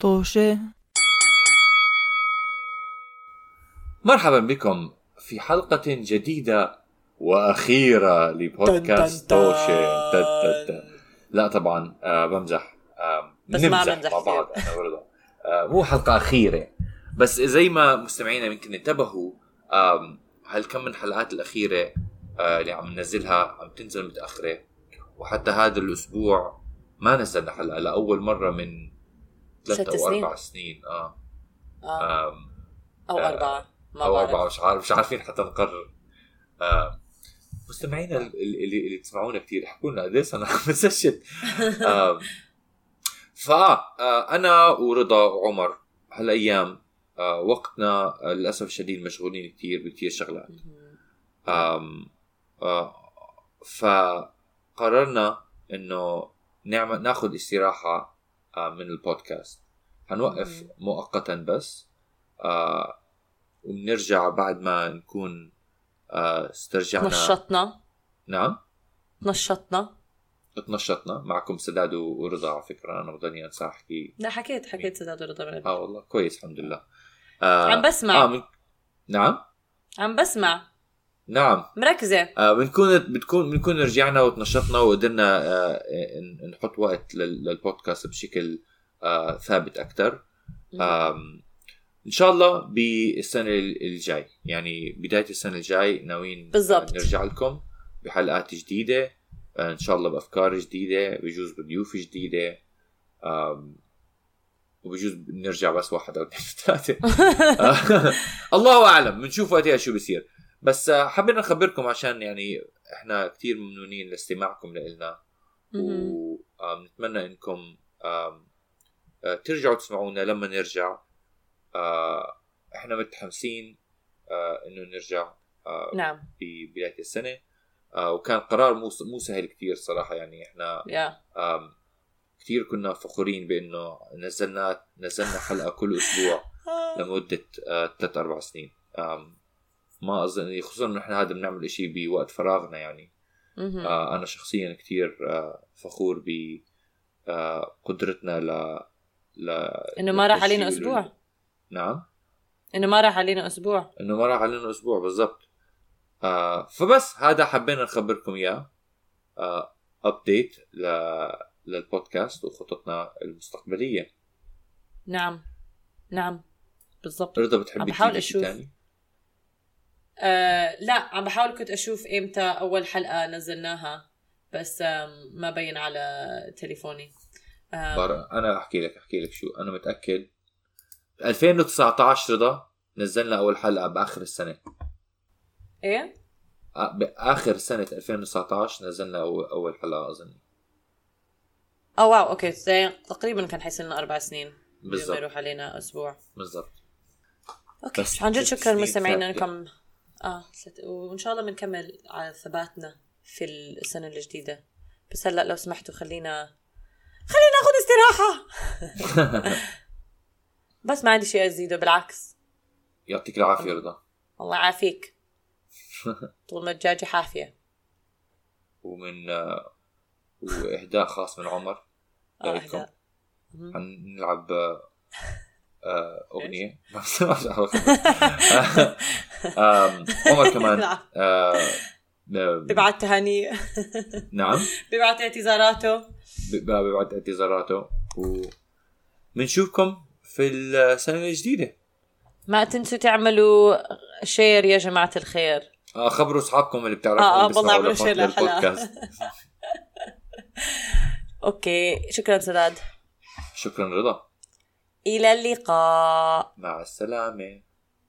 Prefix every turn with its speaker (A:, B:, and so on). A: طوشة
B: مرحبا بكم في حلقة جديدة وأخيرة لبودكاست
C: تن تن تن.
B: طوشة تن تن تن. لا طبعا آه بمزح آه
C: بس ما عم
B: نمزح
C: نمزح
B: مع
C: كثير.
B: بعض أنا ورضا. آه مو حلقة أخيرة بس زي ما مستمعينا يمكن انتبهوا آم، هالكم من حلقات الأخيرة آه اللي عم ننزلها عم تنزل متأخرة وحتى هذا الأسبوع ما نزلنا حلقة لأول مرة من ثلاث
C: ست
B: أو
C: سنين.
B: أربع سنين آه,
C: آه.
B: آه.
C: او
B: آه.
C: اربعه ما
B: او
C: بعرف
B: اربعه مش عارف مش عارفين حتى نقرر آه مستمعينا ال- ال- اللي اللي بتسمعونا كثير احكوا لنا قد ايه صرنا عم نسجل آه فانا ورضا وعمر هالايام آه وقتنا آه، للاسف الشديد مشغولين كثير بكثير شغلات
C: مهم.
B: آم، آه، فقررنا انه نعمل ناخذ استراحه آه، من البودكاست حنوقف
C: مم.
B: مؤقتا بس آه، وبنرجع بعد ما نكون آه، استرجعنا
C: نشطنا
B: نعم
C: نشطنا
B: تنشطنا معكم سداد ورضا على فكره انا وضني انسى احكي
C: لا حكيت حكيت سداد ورضا من قبل.
B: اه والله كويس الحمد لله آه،
C: عم
B: آه،
C: بسمع
B: من... نعم
C: عم بسمع
B: نعم
C: مركزه
B: آه، بنكون بتكون بنكون رجعنا وتنشطنا وقدرنا آه، ن- نحط وقت لل- للبودكاست بشكل آه، ثابت اكثر آه. ان شاء الله بالسنه ال- الجاي يعني بدايه السنه الجاي ناويين
C: بالضبط.
B: آه، نرجع لكم بحلقات جديده آه، ان شاء الله بافكار جديده بجوز بضيوف جديده آم، وبجوز نرجع بس واحد او اثنين ثلاثه آه، الله اعلم بنشوف وقتها شو بصير بس آه، حبينا نخبركم عشان يعني احنا كثير ممنونين لاستماعكم لنا
C: مهم.
B: ونتمنى انكم آم، آه، ترجعوا تسمعونا لما نرجع آه، احنا متحمسين آه، انه نرجع آه،
C: نعم
B: ببدايه السنه آه، وكان قرار مو مو سهل كثير صراحه يعني احنا
C: يا
B: آم، كتير كنا فخورين بانه نزلنا نزلنا حلقه كل اسبوع لمده آه، ثلاث اربع سنين آم، ما اظن خصوصا انه احنا هذا بنعمل إشي بوقت فراغنا يعني
C: مهم.
B: آه، انا شخصيا كتير آه، فخور ب آه، قدرتنا ل ل
C: انه ما راح علينا
B: للتسجيل
C: اسبوع
B: نعم
C: انه ما راح علينا اسبوع
B: انه ما راح علينا اسبوع بالضبط آه فبس هذا حبينا نخبركم اياه آه ابديت ل... للبودكاست وخططنا المستقبليه
C: نعم نعم بالضبط
B: رضا بتحبي
C: عم بحاول
B: تجيبي شيء
C: أشوف.
B: تاني
C: آه لا عم بحاول كنت اشوف امتى اول حلقه نزلناها بس آم، ما بين على تليفوني آم،
B: بارا انا احكي لك احكي لك شو انا متاكد 2019 رضا نزلنا اول حلقه باخر السنه
C: ايه
B: آه، باخر سنه 2019 نزلنا أول- اول حلقه اظن
C: اه واو اوكي زي تقريبا كان حيصير اربع سنين
B: بالضبط.
C: بالضبط يروح علينا اسبوع
B: بالضبط
C: اوكي
B: بس
C: عن جد
B: ست
C: شكرا
B: سنين
C: مستمعينا
B: ثابتة.
C: انكم اه ست... وان شاء الله بنكمل على ثباتنا في السنه الجديده بس هلا لو سمحتوا خلينا خلينا ناخذ استراحه بس ما عندي شيء ازيده بالعكس
B: يعطيك العافيه رضا
C: الله يعافيك طول ما الدجاجه حافيه
B: ومن آه، واهداء خاص من عمر
C: آه،
B: لكم.
C: أهداء. مهم.
B: حنلعب آه، آه، أغنية ما بسمعش على الخبر. آم، عمر كمان
C: نعم.
B: آه، ب-
C: ببعت تهاني
B: نعم
C: ببعت اعتذاراته
B: ب- ببعت اعتذاراته وبنشوفكم في السنة الجديدة
C: ما تنسوا تعملوا شير يا جماعه الخير
B: آه، خبروا أصحابكم اللي
C: آه، آه،
B: بتعرفوا
C: والله عملوا شيء للحلقة.
B: البودكاست
C: اوكي شكرا سداد
B: شكرا رضا
C: الى اللقاء
B: مع السلامة